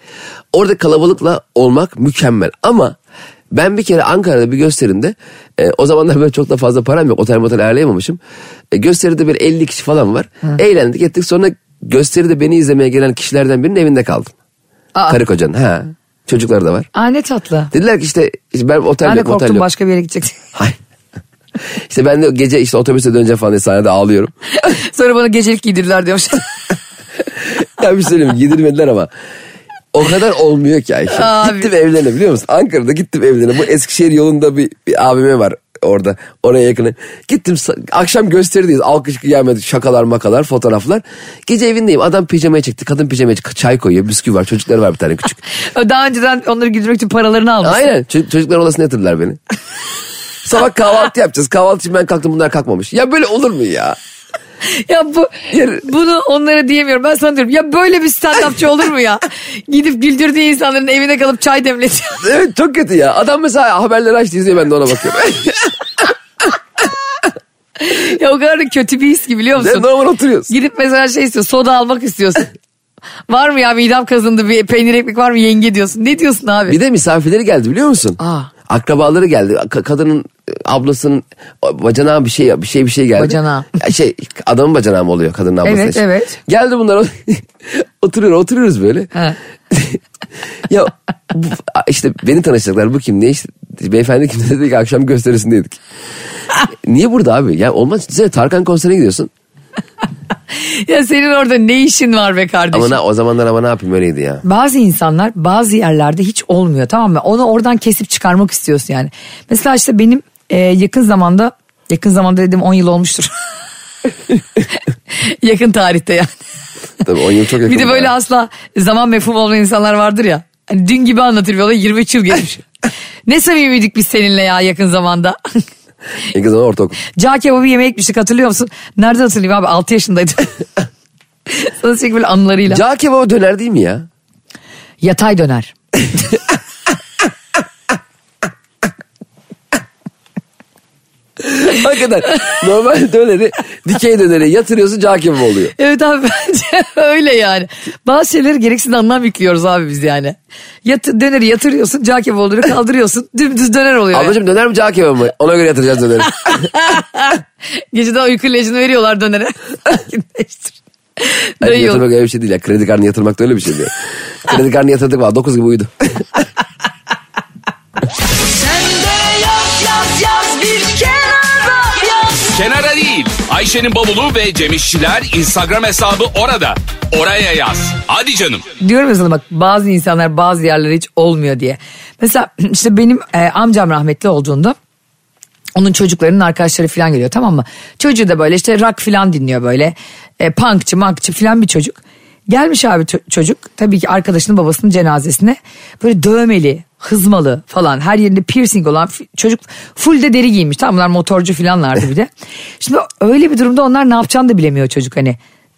S3: Orada kalabalıkla olmak mükemmel ama ben bir kere Ankara'da bir gösterimde e, o zamanlar böyle çok da fazla param yok otel motel ayarlayamamışım. E, gösteride bir 50 kişi falan var. Eğlendik ettik sonra gösteride beni izlemeye gelen kişilerden birinin evinde kaldım.
S2: Aa.
S3: Karı kocanın ha. Çocukları da var.
S2: Aa ne tatlı.
S3: Dediler ki işte işte ben otel
S2: Ben de
S3: Ah. yok, motel
S2: korktum
S3: yok.
S2: başka bir yere gidecek.
S3: Hayır. İşte ben de gece işte otobüse döneceğim falan diye sahnede ağlıyorum.
S2: Sonra bana gecelik giydirdiler diyormuş.
S3: ya bir şey söyleyeyim mi? yedirmediler ama. O kadar olmuyor ki Ayşe.
S2: Abi.
S3: Gittim evlerine biliyor musun? Ankara'da gittim evlerine. Bu Eskişehir yolunda bir, bir AVM var orada. Oraya yakın. Gittim sa- akşam gösterideyiz. Alkış kıyamet şakalar makalar fotoğraflar. Gece evindeyim. Adam pijamaya çekti. Kadın pijamaya çekti. Çay koyuyor. Bisküvi var. Çocukları var bir tane küçük.
S2: Daha önceden onları güldürmek için paralarını almış.
S3: Aynen. Ço- çocuklar odasına yatırdılar beni. Sabah kahvaltı yapacağız. Kahvaltı için ben kalktım bunlar kalkmamış. Ya böyle olur mu ya?
S2: Ya bu, bunu onlara diyemiyorum. Ben sana diyorum ya böyle bir stand-upçı olur mu ya? Gidip güldürdüğü insanların evine kalıp çay demletiyor.
S3: Evet çok kötü ya. Adam mesela haberleri açtı izliyor ben de ona bakıyorum.
S2: ya o kadar da kötü bir his ki biliyor
S3: Sen
S2: musun?
S3: normal oturuyorsun.
S2: Gidip mesela şey istiyor soda almak istiyorsun. var mı ya midem kazındı bir peynir ekmek var mı yenge diyorsun. Ne diyorsun abi?
S3: Bir de misafirleri geldi biliyor musun?
S2: Aa.
S3: Akrabaları geldi. Ka- kadının e, ablasının o, bacanağı bir şey bir şey bir şey geldi.
S2: Bacanağı.
S3: Ya Şey adamın bacanağı mı oluyor kadının ablası?
S2: Evet, evet.
S3: Geldi bunlar oturuyor oturuyoruz böyle.
S2: Ha.
S3: ya bu- işte beni tanıştırdılar bu kim ne işte beyefendi kim dedi ki akşam gösterisindeydik. Niye burada abi? Ya olmaz. Sen Tarkan konserine gidiyorsun.
S2: ya senin orada ne işin var be kardeşim?
S3: Ama ne- o zamanlar ama ne yapayım öyleydi ya.
S2: Bazı insanlar bazı yerlerde hiç olmuyor tamam mı? Onu oradan kesip çıkarmak istiyorsun yani. Mesela işte benim e, yakın zamanda yakın zamanda dedim 10 yıl olmuştur. yakın tarihte yani.
S3: Tabii 10 yıl çok yakın.
S2: Bir de böyle
S3: ya.
S2: asla zaman mefhum olmayan insanlar vardır ya. Hani dün gibi anlatır bir olay 23 yıl geçmiş. ne samimiydik biz seninle ya yakın zamanda.
S3: İlk zaman ortaokul.
S2: Cağ kebabı yemeğe gitmiştik hatırlıyor musun? Nerede hatırlayayım abi 6 yaşındaydım. Sana sürekli böyle anılarıyla.
S3: Cağ kebabı döner değil mi ya?
S2: Yatay döner.
S3: Hakikaten normal döneri dikey döneri yatırıyorsun cağ kebabı oluyor.
S2: Evet abi bence öyle yani. Bazı şeyleri gereksiz anlam yüklüyoruz abi biz yani. Yat, döneri yatırıyorsun, cağ kebabı oluyor, kaldırıyorsun, dümdüz döner oluyor. yani.
S3: Ablacığım döner mi cağ kebabı mı? Ona göre yatıracağız döneri.
S2: Geceden uyku ilacını veriyorlar dönere. Sakinleştir.
S3: Yani
S2: Dayıyor.
S3: yatırmak öyle bir şey değil ya. Kredi kartını yatırmak da öyle bir şey diyor. Kredi kartını yatırdık valla 9 gibi uyudu.
S1: Kenara değil. Ayşe'nin bavulu ve Cemişçiler Instagram hesabı orada. Oraya yaz. Hadi canım.
S2: Diyorum ya sana bak bazı insanlar bazı yerlere hiç olmuyor diye. Mesela işte benim e, amcam rahmetli olduğunda onun çocuklarının arkadaşları falan geliyor tamam mı? Çocuğu da böyle işte rock falan dinliyor böyle. E, punkçı mankçı falan bir çocuk. Gelmiş abi ço- çocuk tabii ki arkadaşının babasının cenazesine böyle dövmeli, hızmalı falan her yerinde piercing olan fi- çocuk full de deri giymiş. Tamam bunlar motorcu falanlardı bir de. Şimdi öyle bir durumda onlar ne yapacağını da bilemiyor çocuk hani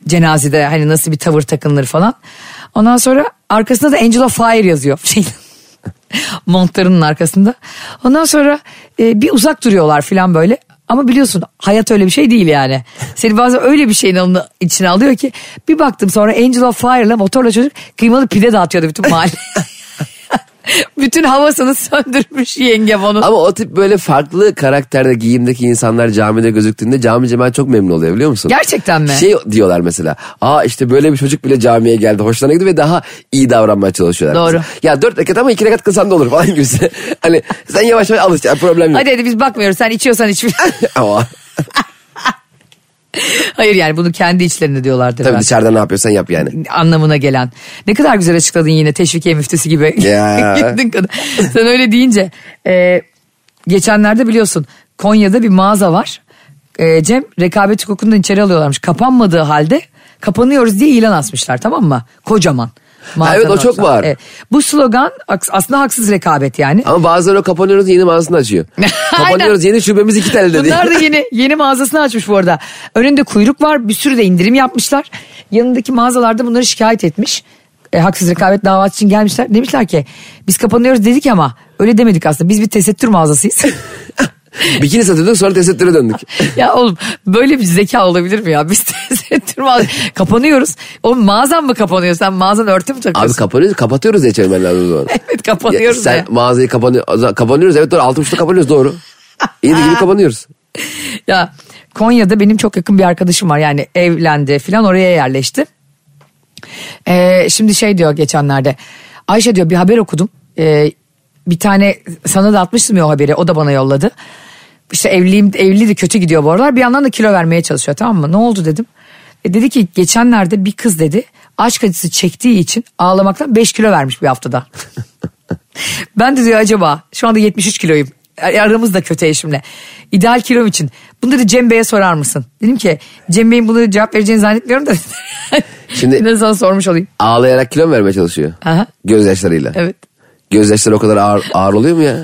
S2: cenazede hani nasıl bir tavır takınılır falan. Ondan sonra arkasında da Angela Fire yazıyor. Şeyin montlarının arkasında. Ondan sonra e, bir uzak duruyorlar falan böyle. Ama biliyorsun hayat öyle bir şey değil yani. Seni bazen öyle bir şeyin alını, içine alıyor ki. Bir baktım sonra Angela Fire'la motorla çocuk kıymalı pide dağıtıyordu bütün mahalle. bütün havasını söndürmüş yengem onu.
S3: Ama o tip böyle farklı karakterde giyimdeki insanlar camide gözüktüğünde cami cemaat çok memnun oluyor biliyor musun?
S2: Gerçekten mi?
S3: Şey diyorlar mesela. Aa işte böyle bir çocuk bile camiye geldi. Hoşlarına gitti ve daha iyi davranmaya çalışıyorlar.
S2: Doğru.
S3: Mesela, Ya dört rekat ama iki rekat kılsan da olur falan gibisi. hani sen yavaş yavaş alışacaksın problem yok.
S2: Hadi hadi biz bakmıyoruz sen içiyorsan iç.
S3: ama
S2: Hayır yani bunu kendi içlerinde diyorlardır.
S3: tabii
S2: ben.
S3: dışarıda ne yapıyorsan yap yani.
S2: anlamına gelen. Ne kadar güzel açıkladın yine teşvikiye müftüsü gibi.
S3: Ya.
S2: Gittin kadın. Sen öyle deyince e, geçenlerde biliyorsun Konya'da bir mağaza var. E, Cem rekabet hukukundan içeri alıyorlarmış. Kapanmadığı halde kapanıyoruz diye ilan asmışlar tamam mı? Kocaman. Mağazanın
S3: evet, o çok
S2: ortasına.
S3: var.
S2: Bu slogan aks- aslında haksız rekabet yani.
S3: Ama bazıları o kapanıyoruz yeni mağazasını açıyor. kapanıyoruz yeni şubemiz iki tane dedi.
S2: Bunlar da yeni yeni mağazasını açmış bu arada. Önünde kuyruk var bir sürü de indirim yapmışlar. Yanındaki mağazalarda bunları şikayet etmiş. E, haksız rekabet davası için gelmişler. Demişler ki biz kapanıyoruz dedik ama öyle demedik aslında. Biz bir tesettür mağazasıyız.
S3: Bikini satıyorduk sonra tesettüre döndük.
S2: ya oğlum böyle bir zeka olabilir mi ya? Biz tesettür mağazası. kapanıyoruz. O mağazan mı kapanıyor? Sen mağazan örtü mü
S3: Abi
S2: takıyorsun?
S3: kapanıyoruz kapatıyoruz diye çevirmen lazım o zaman.
S2: evet
S3: Ya
S2: kapanıyoruz.
S3: sen
S2: ya.
S3: mağazayı kapanıyor, o zaman kapanıyoruz evet doğru altı buçukta kapanıyoruz doğru. Yedi gibi kapanıyoruz.
S2: Ya Konya'da benim çok yakın bir arkadaşım var yani evlendi falan oraya yerleşti. Ee, şimdi şey diyor geçenlerde Ayşe diyor bir haber okudum Ee, bir tane sana da atmıştım ya o haberi o da bana yolladı. İşte evliyim evli de kötü gidiyor bu aralar bir yandan da kilo vermeye çalışıyor tamam mı ne oldu dedim. E, dedi ki geçenlerde bir kız dedi aşk acısı çektiği için ağlamaktan 5 kilo vermiş bir haftada. Ben de diyor acaba şu anda 73 kiloyum. Aramızda kötü eşimle. İdeal kilom için. Bunları Cem Bey'e sorar mısın? Dedim ki Cem Bey'in bunu cevap vereceğini zannetmiyorum da.
S3: Şimdi-
S2: Şimdi ne zaman sormuş olayım.
S3: Ağlayarak kilo mu vermeye çalışıyor?
S2: Aha.
S3: Gözyaşlarıyla.
S2: Evet.
S3: Gözyaşları o kadar ağır, ağır oluyor mu ya?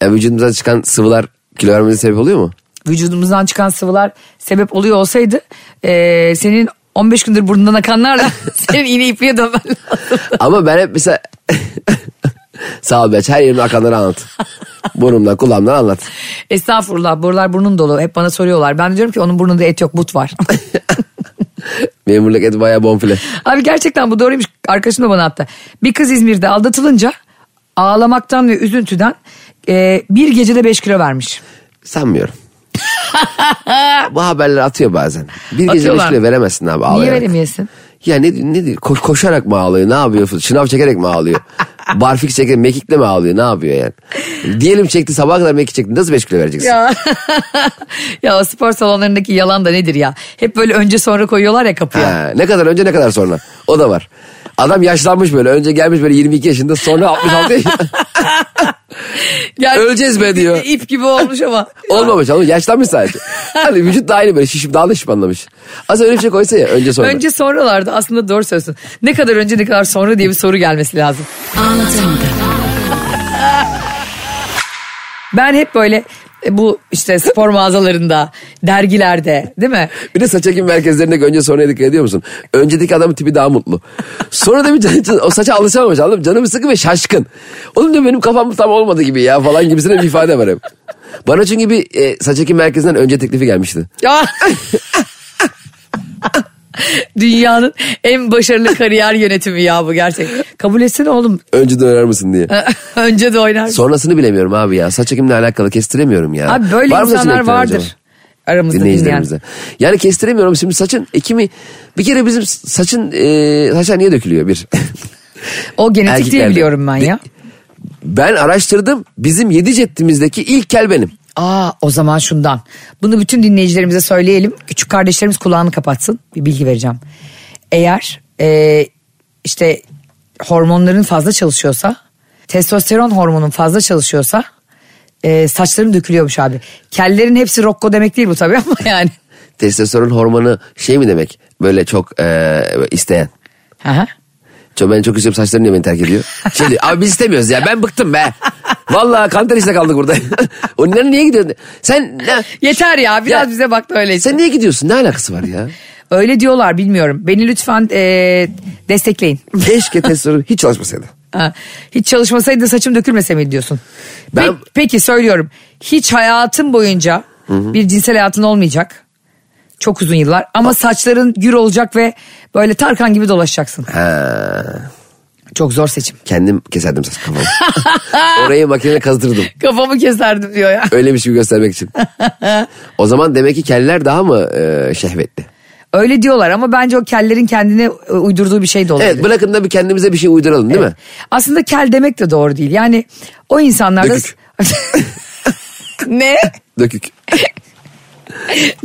S3: ya vücudumuzdan çıkan sıvılar kilo vermenize sebep oluyor mu?
S2: Vücudumuzdan çıkan sıvılar sebep oluyor olsaydı eee, senin 15 gündür burnundan akanlarla senin iğne ipliğe dönmen lazım.
S3: Ama ben hep mesela... Sağ ol Beç her yerimde akanları anlat. Burnumdan kulağımdan anlat.
S2: Estağfurullah buralar burnun dolu. Hep bana soruyorlar. Ben de diyorum ki onun burnunda et yok but var.
S3: Memurluk et bayağı bonfile.
S2: Abi gerçekten bu doğruymuş. Arkadaşım da bana attı. Bir kız İzmir'de aldatılınca ağlamaktan ve üzüntüden e, bir gecede 5 kilo vermiş.
S3: Sanmıyorum. Bu haberler atıyor bazen. Bir gece beş
S2: Atıyorlar.
S3: kilo veremezsin abi ağlayarak.
S2: Niye veremeyesin?
S3: Ya ne, ne diyor? Ko- koşarak mı ağlıyor? Ne yapıyor? Şınav çekerek mi ağlıyor? Barfik çekerek mekikle mi ağlıyor? Ne yapıyor yani? Diyelim çekti sabaha kadar mekik çekti. Nasıl 5 kilo vereceksin?
S2: Ya. ya o spor salonlarındaki yalan da nedir ya? Hep böyle önce sonra koyuyorlar ya kapıya.
S3: Ha, ne kadar önce ne kadar sonra. O da var. Adam yaşlanmış böyle. Önce gelmiş böyle 22 yaşında sonra 66 yaşında.
S2: Yani
S3: Öleceğiz be diyor.
S2: İp gibi olmuş ama.
S3: Olmamış oğlum yaşlanmış sadece. Hani vücut da aynı böyle şişim daha da şişmanlamış. Aslında öyle bir şey koysa ya önce sonra.
S2: Önce sonralarda aslında doğru söylüyorsun. Ne kadar önce ne kadar sonra diye bir soru gelmesi lazım. Ben hep böyle e, bu işte spor mağazalarında, dergilerde değil mi?
S3: Bir de saç ekim merkezlerinde önce sonraya dikkat ediyor musun? Öncedeki adamın tipi daha mutlu. Sonra da bir can, can- o saça alışamamış anladın mı? Canım sıkı ve şaşkın. Oğlum diyor benim kafam tam olmadı gibi ya falan gibisine bir ifade var hep. Bana çünkü bir e, saç ekim merkezinden önce teklifi gelmişti.
S2: Ya. Dünyanın en başarılı kariyer yönetimi ya bu gerçek. Kabul etsene oğlum.
S3: Önce döner misin diye.
S2: Önce de oynar.
S3: Sonrasını bilemiyorum abi ya. Saç ekimle alakalı kestiremiyorum ya.
S2: Abi böyle
S3: Var mı saçını
S2: insanlar
S3: ektiren
S2: vardır.
S3: acaba?
S2: Aramızda dinleyen.
S3: dinleyicilerimizde. Yani kestiremiyorum şimdi saçın ekimi bir kere bizim saçın e, saçlar niye dökülüyor bir.
S2: O genetik diye
S3: Erkeklerde.
S2: biliyorum ben ya.
S3: ben araştırdım bizim yedi cettimizdeki ilk kel benim.
S2: Aa o zaman şundan. Bunu bütün dinleyicilerimize söyleyelim. Küçük kardeşlerimiz kulağını kapatsın. Bir bilgi vereceğim. Eğer e, işte hormonların fazla çalışıyorsa, testosteron hormonun fazla çalışıyorsa e, saçların dökülüyormuş abi. Kellerin hepsi rokko demek değil bu tabii ama yani.
S3: Testosteron hormonu şey mi demek böyle çok e, isteyen.
S2: Hı hı.
S3: Çok, ben çok istiyorum saçlarım niye beni terk ediyor? Şey diyor, abi biz istemiyoruz ya ben bıktım be. Vallahi kanter işte kaldık burada. Onların niye gidiyorsun? Sen ne-
S2: Yeter ya biraz
S3: Ya,
S2: bize bak da öyleyse.
S3: sen niye gidiyorsun? Ne alakası var ya?
S2: Öyle diyorlar bilmiyorum. Beni lütfen e, destekleyin.
S3: Keşke testosteron hiç çalışmasaydı.
S2: Ha, hiç çalışmasaydı saçım dökülmese mi diyorsun?
S3: Ben-
S2: Pe- peki söylüyorum. Hiç hayatın boyunca bir cinsel hayatın olmayacak. Çok uzun yıllar ama saçların gür olacak ve böyle Tarkan gibi dolaşacaksın.
S3: Ha.
S2: Çok zor seçim.
S3: Kendim keserdim saç kafamı. Orayı makineyle kazdırdım.
S2: Kafamı keserdim diyor ya.
S3: Öyle bir şey göstermek için. O zaman demek ki keller daha mı e, şehvetli?
S2: Öyle diyorlar ama bence o kellerin kendine e, uydurduğu bir şey de olabilir.
S3: Evet bırakın da bir kendimize bir şey uyduralım değil mi?
S2: Aslında kel demek de doğru değil. Yani o insanlarda...
S3: Dökük.
S2: ne?
S3: Dökük.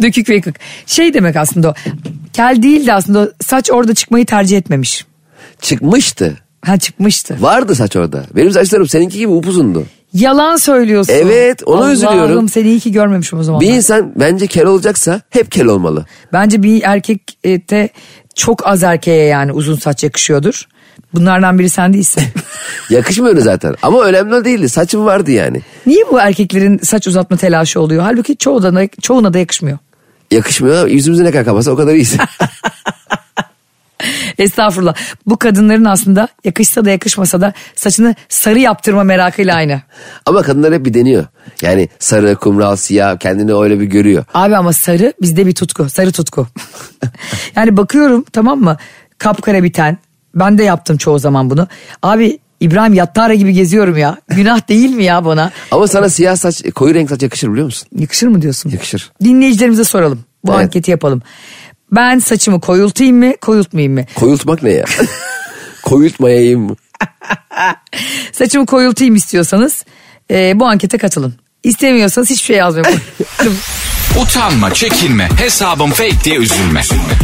S2: Dökük ve yıkık. Şey demek aslında o. Kel değil de aslında o saç orada çıkmayı tercih etmemiş.
S3: Çıkmıştı.
S2: Ha çıkmıştı.
S3: Vardı saç orada. Benim saçlarım seninki gibi upuzundu.
S2: Yalan söylüyorsun.
S3: Evet, ona
S2: Allah'ım,
S3: üzülüyorum.
S2: seni iyi ki görmemişim o zaman.
S3: Bir insan bence kel olacaksa hep kel olmalı.
S2: Bence bir erkekte çok az erkeğe yani uzun saç yakışıyordur. Bunlardan biri sen değilsin.
S3: Yakışmıyor zaten. Ama önemli değildi. Saçım vardı yani.
S2: Niye bu erkeklerin saç uzatma telaşı oluyor? Halbuki çoğu da, çoğuna da yakışmıyor.
S3: Yakışmıyor ama yüzümüzü ne kadar kapatsa o kadar iyiyiz.
S2: Estağfurullah. Bu kadınların aslında yakışsa da yakışmasa da saçını sarı yaptırma merakıyla aynı.
S3: ama kadınlar hep bir deniyor. Yani sarı, kumral, siyah kendini öyle bir görüyor.
S2: Abi ama sarı bizde bir tutku. Sarı tutku. yani bakıyorum tamam mı? Kapkara biten. Ben de yaptım çoğu zaman bunu. Abi İbrahim Yattara gibi geziyorum ya. Günah değil mi ya bana?
S3: Ama sana siyah saç, koyu renk saç yakışır biliyor musun?
S2: Yakışır mı diyorsun?
S3: Yakışır.
S2: Dinleyicilerimize soralım. Bu
S3: Evet.
S2: anketi yapalım. Ben saçımı koyultayım mı, koyultmayayım mı?
S3: Koyultmak ne ya? Koyultmayayım mı?
S2: Saçımı koyultayım istiyorsanız e, bu ankete katılın. İstemiyorsanız hiçbir şey yazmayın.
S1: Utanma, çekinme, hesabım fake diye üzülme.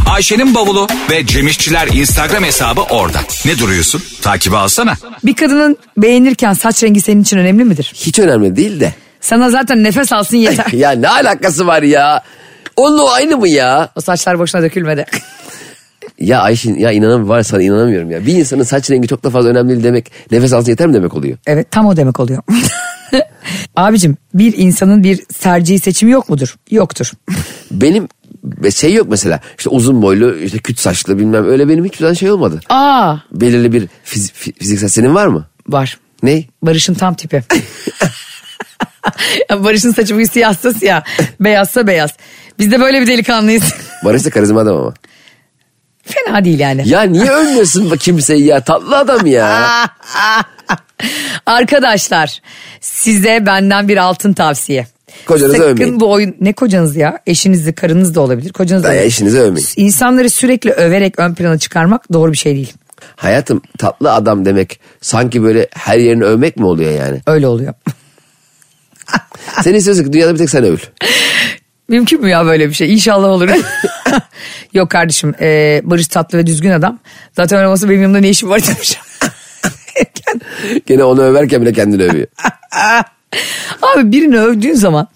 S1: Ayşe'nin bavulu ve Cemişçiler Instagram hesabı orada. Ne duruyorsun? Takibi alsana.
S2: bir kadının beğenirken saç rengi senin için önemli midir?
S3: Hiç önemli değil de.
S2: Sana zaten nefes alsın yeter.
S3: Ya ne alakası var ya? Onunla aynı mı ya?
S2: o saçlar boşuna dökülmedi.
S3: Ya Ayşin ya inanam var sana inanamıyorum ya. Bir insanın saç rengi çok da fazla önemli değil demek nefes alsın yeter mi demek oluyor?
S2: Evet tam o demek oluyor. Abicim bir insanın bir tercihi seçimi yok mudur? Yoktur.
S3: Benim şey yok mesela işte uzun boylu işte küt saçlı bilmem öyle benim hiçbir zaman şey olmadı.
S2: Aa
S3: Belirli bir fiz- fi- fiziksel senin var mı?
S2: var.
S3: Ne?
S2: Barış'ın tam tipi. Ya Barış'ın saçı bugün siyahsa siyah, beyazsa beyaz. Biz de böyle bir delikanlıyız.
S3: Barış da karizma adam ama.
S2: Fena değil yani.
S3: Ya niye övmüyorsun bu kimseyi ya tatlı adam ya.
S2: Arkadaşlar size benden bir altın tavsiye.
S3: Kocanızı
S2: Sakın
S3: övmeyin.
S2: bu oyun ne kocanız ya eşinizi karınız da olabilir kocanız da
S3: Ya
S2: olabilir.
S3: eşinizi övmeyin.
S2: İnsanları sürekli överek ön plana çıkarmak doğru bir şey değil.
S3: Hayatım tatlı adam demek sanki böyle her yerini övmek mi oluyor yani?
S2: Öyle oluyor.
S3: Sen istiyorsun ki dünyada bir tek sen övül.
S2: Mümkün mü ya böyle bir şey? İnşallah olur. Yok kardeşim e, Barış tatlı ve düzgün adam. Zaten öyle olmasa benim yanımda ne işim var demiş.
S3: Gene onu överken bile kendini övüyor.
S2: Abi birini övdüğün zaman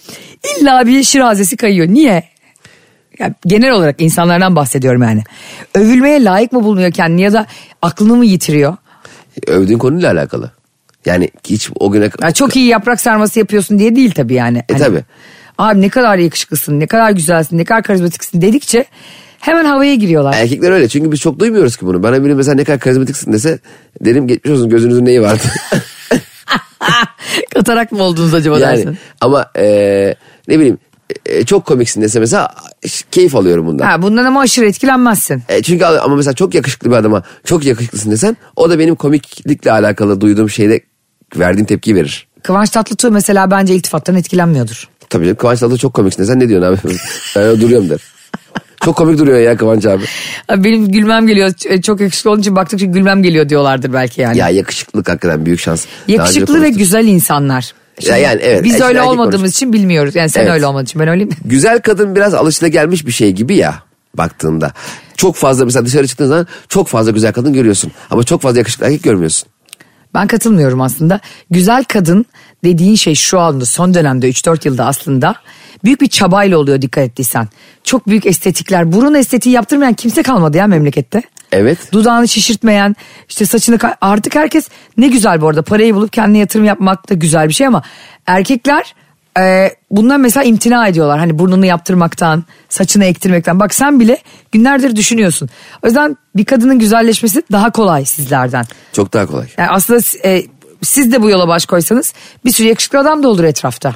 S2: illa bir şirazesi kayıyor. Niye? Ya genel olarak insanlardan bahsediyorum yani. Övülmeye layık mı bulmuyor kendini ya da aklını mı yitiriyor?
S3: Övdüğün konuyla alakalı. Yani hiç o güne...
S2: Ya çok iyi yaprak sarması yapıyorsun diye değil tabii yani. Hani
S3: E tabii.
S2: Abi ne kadar yakışıklısın, ne kadar güzelsin, ne kadar karizmatiksin dedikçe hemen havaya giriyorlar.
S3: Erkekler öyle çünkü biz çok duymuyoruz ki bunu. Bana biri mesela ne kadar karizmatiksin dese derim geçmiş olsun gözünüzün neyi vardı.
S2: Katarak mı oldunuz acaba
S3: yani
S2: dersin?
S3: ama eee, ne bileyim eee, çok komiksin dese mesela ş- keyif alıyorum bundan.
S2: Ha, bundan ama aşırı etkilenmezsin.
S3: E, çünkü al- ama mesela çok yakışıklı bir adama çok yakışıklısın desen o da benim komiklikle alakalı duyduğum şeyde verdiğim tepkiyi verir.
S2: Kıvanç Tatlıtuğ mesela bence iltifattan etkilenmiyordur.
S3: Tabii canım Kıvanç Tatlı çok komiksin desen ne diyorsun abi? ben öyle duruyorum der. Çok komik duruyor ya Kıvanç abi.
S2: Abi benim gülmem geliyor. Ç- e, Çok yakışıklı olduğu için baktıkça gülmem geliyor diyorlardır belki yani.
S3: Ya yakışıklılık hakikaten büyük şans. Daha önce
S2: Yakışıklı ve
S3: konuştuk.
S2: güzel insanlar.
S3: Ya yani evet,
S2: Biz
S3: erkek-
S2: öyle
S3: erkek
S2: olmadığımız
S3: konuştuk.
S2: için bilmiyoruz. Yani sen
S3: Evet.
S2: öyle olmadığın için ben öyleyim.
S3: Güzel kadın biraz alışılagelmiş bir şey gibi ya baktığında. Çok fazla mesela dışarı çıktığın zaman çok fazla güzel kadın görüyorsun. Ama çok fazla yakışıklı erkek görmüyorsun.
S2: Ben katılmıyorum aslında. Güzel kadın dediğin şey şu anda son dönemde 3-4 yılda aslında büyük bir çabayla oluyor dikkat ettiysen. Çok büyük estetikler. Burun estetiği yaptırmayan kimse kalmadı ya memlekette.
S3: Evet.
S2: Dudağını şişirtmeyen işte saçını ka- artık herkes ne güzel bu arada parayı bulup kendine yatırım yapmak da güzel bir şey ama erkekler e, bundan mesela imtina ediyorlar. Hani burnunu yaptırmaktan saçını ektirmekten bak sen bile günlerdir düşünüyorsun. O yüzden bir kadının güzelleşmesi daha kolay sizlerden.
S3: Çok daha kolay.
S2: Yani aslında e, siz de bu yola baş koysanız bir sürü yakışıklı adam da olur etrafta.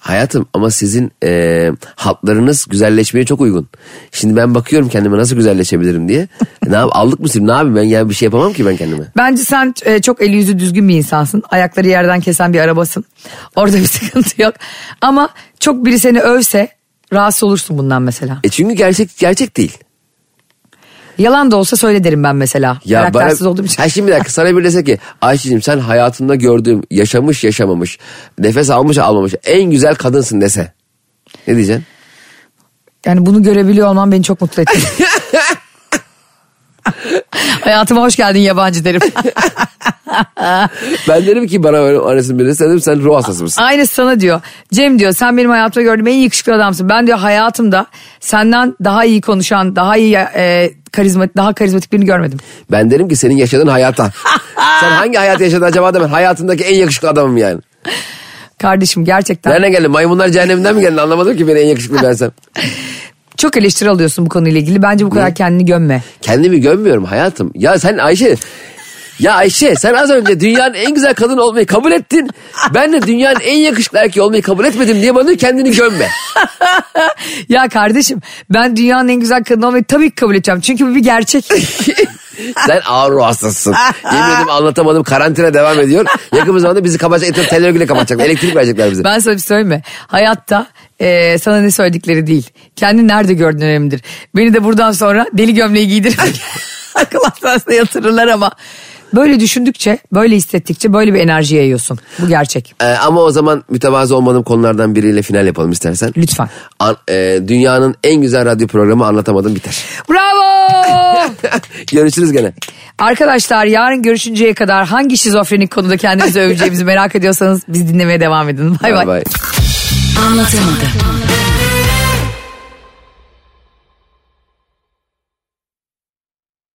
S3: Hayatım ama sizin e, hatlarınız güzelleşmeye çok uygun. Şimdi ben bakıyorum kendime nasıl güzelleşebilirim diye. E, ne yap aldık mı sim? Ne yapayım ben yani bir şey yapamam ki ben kendime.
S2: Bence sen e, çok eli yüzü düzgün bir insansın. Ayakları yerden kesen bir arabasın. Orada bir sıkıntı yok. Ama çok biri seni övse rahatsız olursun bundan mesela.
S3: E çünkü gerçek gerçek değil.
S2: Yalan da olsa söyle derim ben mesela. Ya Karaktersiz olduğum için.
S3: Ha şimdi bir dakika sana bir dese ki Ayşe'cim sen hayatında gördüğüm yaşamış yaşamamış nefes almış almamış en güzel kadınsın dese. Ne diyeceksin?
S2: Yani bunu görebiliyor olman beni çok mutlu etti. Hayatıma hoş geldin yabancı derim.
S3: Ben derim ki bana öyle annesinin birisi sen derim sen ruh hastası mısın?
S2: Aynı sana diyor. Cem diyor sen benim hayatımda gördüğüm en yakışıklı adamsın. Ben diyor hayatımda senden daha iyi konuşan, daha iyi e, karizmatik, daha karizmatik birini görmedim.
S3: Ben derim ki senin yaşadığın hayata. sen hangi hayatı yaşadın acaba da ben hayatındaki en yakışıklı adamım yani.
S2: Kardeşim gerçekten
S3: Nereden geldin? Maymunlar cehenneminden mi geldin? Anlamadım ki beni en yakışıklı versem.
S2: çok eleştiri alıyorsun bu konuyla ilgili. Bence bu kadar kendini gömme.
S3: Kendimi gömmüyorum hayatım. Ya sen Ayşe... Ya Ayşe sen az önce dünyanın en güzel kadın olmayı kabul ettin. Ben de dünyanın en yakışıklı erkeği olmayı kabul etmedim diye bana diyor, kendini gömme.
S2: Ya kardeşim ben dünyanın en güzel kadını olmayı tabii ki kabul edeceğim. Çünkü bu bir gerçek.
S3: Sen ağır ruh hastasısın. Yemin ederim anlatamadım karantina devam ediyor. Yakın bir zamanda bizi kapatacak etrafı tel örgüyle kapatacaklar. Elektrik verecekler bize.
S2: ben sana bir söyleme. Hayatta e, sana ne söyledikleri değil. Kendi nerede gördüğün önemlidir. Beni de buradan sonra deli gömleği giydirip akıl hastanesine yatırırlar ama. Böyle düşündükçe, böyle hissettikçe böyle bir enerji yayıyorsun. Bu gerçek.
S3: Ee, ama o zaman mütevazı olmadığım konulardan biriyle final yapalım istersen.
S2: Lütfen.
S3: An- e, dünyanın en güzel radyo programı anlatamadım biter.
S2: Bravo!
S3: Görüşürüz gene.
S2: Arkadaşlar yarın görüşünceye kadar hangi şizofrenik konuda kendinizi öveceğimizi merak ediyorsanız biz dinlemeye devam edin. Bay bay.
S3: Bay bay.
S4: Anlatamadım.